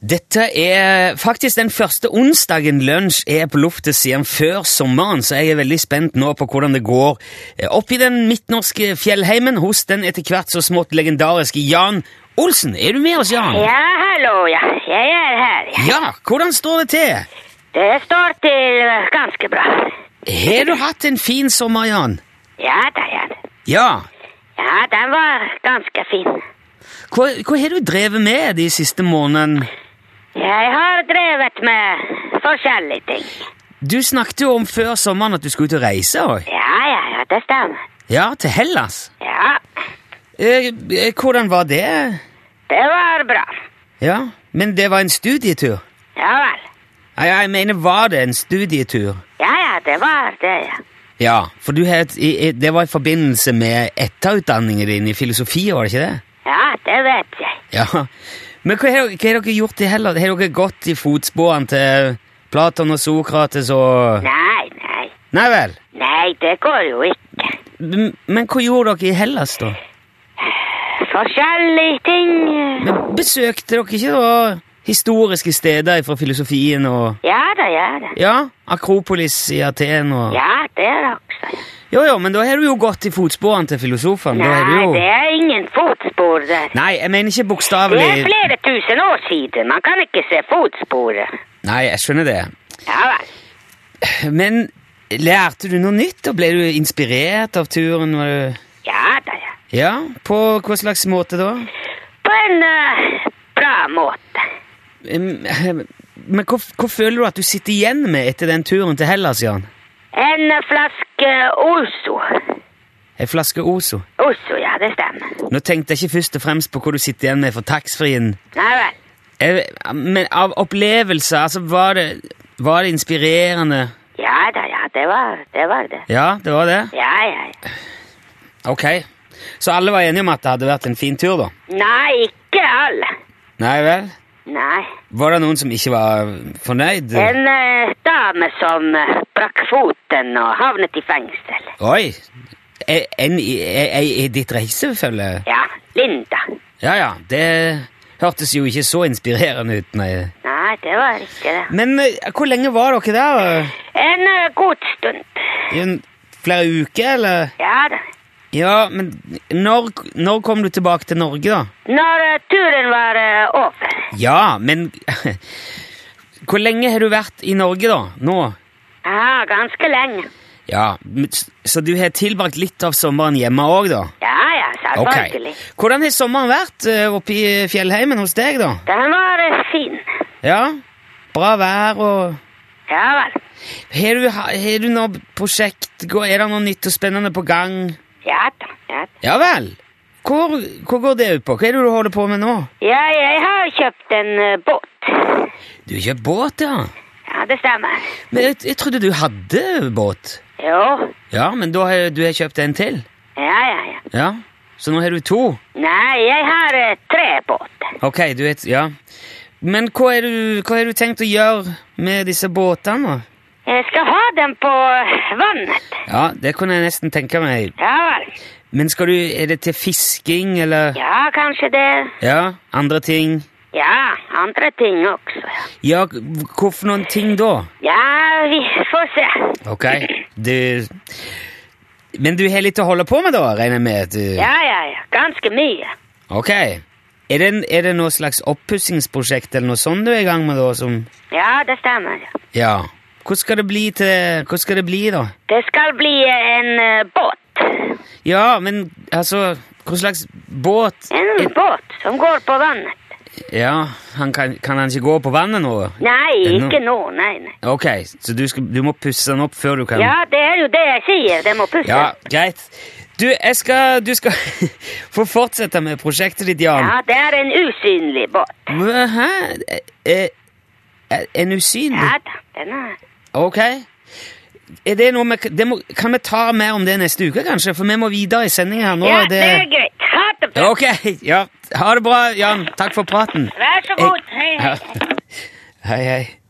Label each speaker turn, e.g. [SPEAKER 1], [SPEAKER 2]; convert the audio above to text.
[SPEAKER 1] Dette er faktisk den første onsdagen lunsj er på luftet siden før sommeren, så jeg er veldig spent nå på hvordan det går eh, opp i den midtnorske fjellheimen hos den etter hvert så smått legendariske Jan Olsen. Er du med oss, Jan?
[SPEAKER 2] Ja, hallo, ja. Jeg er her. ja.
[SPEAKER 1] Ja, hvordan står det til?
[SPEAKER 2] Det står til eh, ganske bra.
[SPEAKER 1] Har du hatt en fin sommer, Jan?
[SPEAKER 2] Ja da, ja da.
[SPEAKER 1] Ja.
[SPEAKER 2] Ja, den var ganske fin.
[SPEAKER 1] Hva, hva har du drevet med de siste månedene?
[SPEAKER 2] Jeg har drevet med forskjellige ting.
[SPEAKER 1] Du snakket jo om før sommeren at du skulle ut og reise òg.
[SPEAKER 2] Ja, ja, ja, det stemmer.
[SPEAKER 1] Ja, til Hellas.
[SPEAKER 2] Ja,
[SPEAKER 1] Eh, eh, hvordan var det?
[SPEAKER 2] det var bra.
[SPEAKER 1] Ja, men det var en studietur.
[SPEAKER 2] Ja vel.
[SPEAKER 1] Nei, jeg mener, var det en studietur?
[SPEAKER 2] Ja, ja, det var det, ja.
[SPEAKER 1] Ja, for du het, i, i, det var i forbindelse med etterutdanningen din i filosofi, var det ikke det?
[SPEAKER 2] Ja, det vet jeg.
[SPEAKER 1] Ja. Men hva har, hva har dere gjort i Hellas? Har dere gått i fotsporene til Platon og Sokrates og
[SPEAKER 2] Nei, nei.
[SPEAKER 1] Nei vel.
[SPEAKER 2] Nei, det går jo ikke.
[SPEAKER 1] M- Men hva gjorde dere i Hellas, da?
[SPEAKER 2] Forskjellige ting. eh.
[SPEAKER 1] Men besøkte dere ikke da historiske steder fra filosofien og
[SPEAKER 2] Ja da, ja da.
[SPEAKER 1] Ja, Akropolis i Aten og
[SPEAKER 2] Ja, det er også. ja.
[SPEAKER 1] Jo, jo, men da har du jo gått i fotsporene til filosofene. da har du
[SPEAKER 2] Nei,
[SPEAKER 1] jo...
[SPEAKER 2] det er ingen fotspor der.
[SPEAKER 1] Nei, jeg mener ikke
[SPEAKER 2] Det er
[SPEAKER 1] bokstavelig.
[SPEAKER 2] flere tusen år siden. Man kan ikke se fotsporet.
[SPEAKER 1] Nei, jeg skjønner det.
[SPEAKER 2] Ja vel.
[SPEAKER 1] Men lærte du noe nytt, og ble du inspirert av turen? Var du...
[SPEAKER 2] Ja da, ja.
[SPEAKER 1] Ja, på hva slags måte da?
[SPEAKER 2] På en eh, bra måte.
[SPEAKER 1] Em, Men hva, hva føler du at du sitter igjen med etter den turen til Hellas, Jan?
[SPEAKER 2] En eh, flaske Ozo.
[SPEAKER 1] Ei flaske Ozo.
[SPEAKER 2] Ozo, ja, det stemmer.
[SPEAKER 1] Nå tenkte jeg ikke først og fremst på hva du sitter igjen med for taxfree-en.
[SPEAKER 2] Nei vel.
[SPEAKER 1] Eh, Men av opplevelser, altså, var det, var det inspirerende?
[SPEAKER 2] Ja da, ja, det var det. Var det.
[SPEAKER 1] Ja, det var det?
[SPEAKER 2] Ja, ja, ja.
[SPEAKER 1] Ok. Så alle var enige om at det hadde vært en fin tur, da?
[SPEAKER 2] Nei, ikke alle.
[SPEAKER 1] Nei vel?
[SPEAKER 2] Nei.
[SPEAKER 1] Var det noen som ikke var fornøyd?
[SPEAKER 2] En eh, dame som eh, brakk foten og havnet i fengsel.
[SPEAKER 1] Oi! En en i, ei i ditt reisefølge?
[SPEAKER 2] Ja, Linda.
[SPEAKER 1] Ja ja, det hørtes jo ikke så inspirerende ut, nei.
[SPEAKER 2] Nei, det var ikke det.
[SPEAKER 1] Men eh, hvor lenge var dere der?
[SPEAKER 2] En eh, god stund.
[SPEAKER 1] I en, flere uker, eller?
[SPEAKER 2] Ja da.
[SPEAKER 1] Ja, men når, når kom du tilbake til Norge, da?
[SPEAKER 2] Når eh, turen var eh, over
[SPEAKER 1] Ja, men Hvor lenge har du vært i Norge, da? Nå?
[SPEAKER 2] Ja, ganske lenge.
[SPEAKER 1] Ja, men s- Så du har tilbrakt litt av sommeren hjemme òg, da?
[SPEAKER 2] Ja, ja, selvfølgelig.
[SPEAKER 1] Ok. Hvordan har sommeren vært eh, oppe i fjellheimen hos deg, da?
[SPEAKER 2] Den var eh, fin.
[SPEAKER 1] Ja, bra vær og
[SPEAKER 2] Ja vel.
[SPEAKER 1] Har du, ha- har du noe prosjekt? Går- Er det noe nytt og spennende på gang?
[SPEAKER 2] Ja da. ja da.
[SPEAKER 1] Ja vel. Hvor, hvor går det ut på? Hva er det du holder på med nå?
[SPEAKER 2] Ja, jeg har kjøpt en eh, båt.
[SPEAKER 1] Du har kjøpt båt, ja.
[SPEAKER 2] Ja, det stemmer.
[SPEAKER 1] Men jeg, jeg trodde du hadde båt.
[SPEAKER 2] Jo.
[SPEAKER 1] Ja, men da har du har kjøpt en til.
[SPEAKER 2] Ja, ja, ja.
[SPEAKER 1] Ja, Så nå har du to.
[SPEAKER 2] Nei, jeg har eh, tre båter.
[SPEAKER 1] Ok, du vet Ja. Men hva har du, hva har du tenkt å gjøre med disse båtene? da?
[SPEAKER 2] Jeg skal ha dem på eh, vannet.
[SPEAKER 1] Ja, det kunne jeg nesten tenke meg.
[SPEAKER 2] Ja vel.
[SPEAKER 1] Men skal du, er det til fisking, eller?
[SPEAKER 2] Ja, kanskje det.
[SPEAKER 1] Ja, andre ting?
[SPEAKER 2] Ja, andre ting også. ja.
[SPEAKER 1] Ja, hvorfor noen ting da?
[SPEAKER 2] Ja, vi får se.
[SPEAKER 1] Ok, du... Men du har litt å holde på med da, regner jeg med? at Du...
[SPEAKER 2] Ja, ja, ja. Ganske mye.
[SPEAKER 1] Ok. Er det, er det noe slags oppussingsprosjekt eller noe sånt du er i gang med da, som...
[SPEAKER 2] Ja, det stemmer. ja.
[SPEAKER 1] Ja. Hvordan skal det bli til... Hvordan skal det bli da?
[SPEAKER 2] Det skal bli en eh, båt.
[SPEAKER 1] Ja, men altså... Hva slags båt...
[SPEAKER 2] En båt som går på vannet.
[SPEAKER 1] Ja, han kan, kan han ikke gå på vannet nå?
[SPEAKER 2] Nei,
[SPEAKER 1] Ennå?
[SPEAKER 2] ikke nå. Nei, nei.
[SPEAKER 1] Ok, så du, skal, du må pusse den opp før du kan...
[SPEAKER 2] Ja, det er jo det jeg sier. Det må pusse.
[SPEAKER 1] Ja, greit. Du, jeg skal, du skal få fortsette med prosjektet ditt, Jan.
[SPEAKER 2] Ja, det er en usynlig båt.
[SPEAKER 1] Hva- Hæ? Eh, eh, En usynlig?
[SPEAKER 2] Ja da, den er
[SPEAKER 1] Ok. Er det noe med, det må, kan vi ta mer om det neste uke, kanskje? For vi må videre i sendingen her nå.
[SPEAKER 2] Ja,
[SPEAKER 1] er
[SPEAKER 2] det er greit. Ha det bra.
[SPEAKER 1] Ok, ja. Ha det bra, Jan. Takk for praten.
[SPEAKER 2] Vær så god. Hei, hei.
[SPEAKER 1] Hei, hei.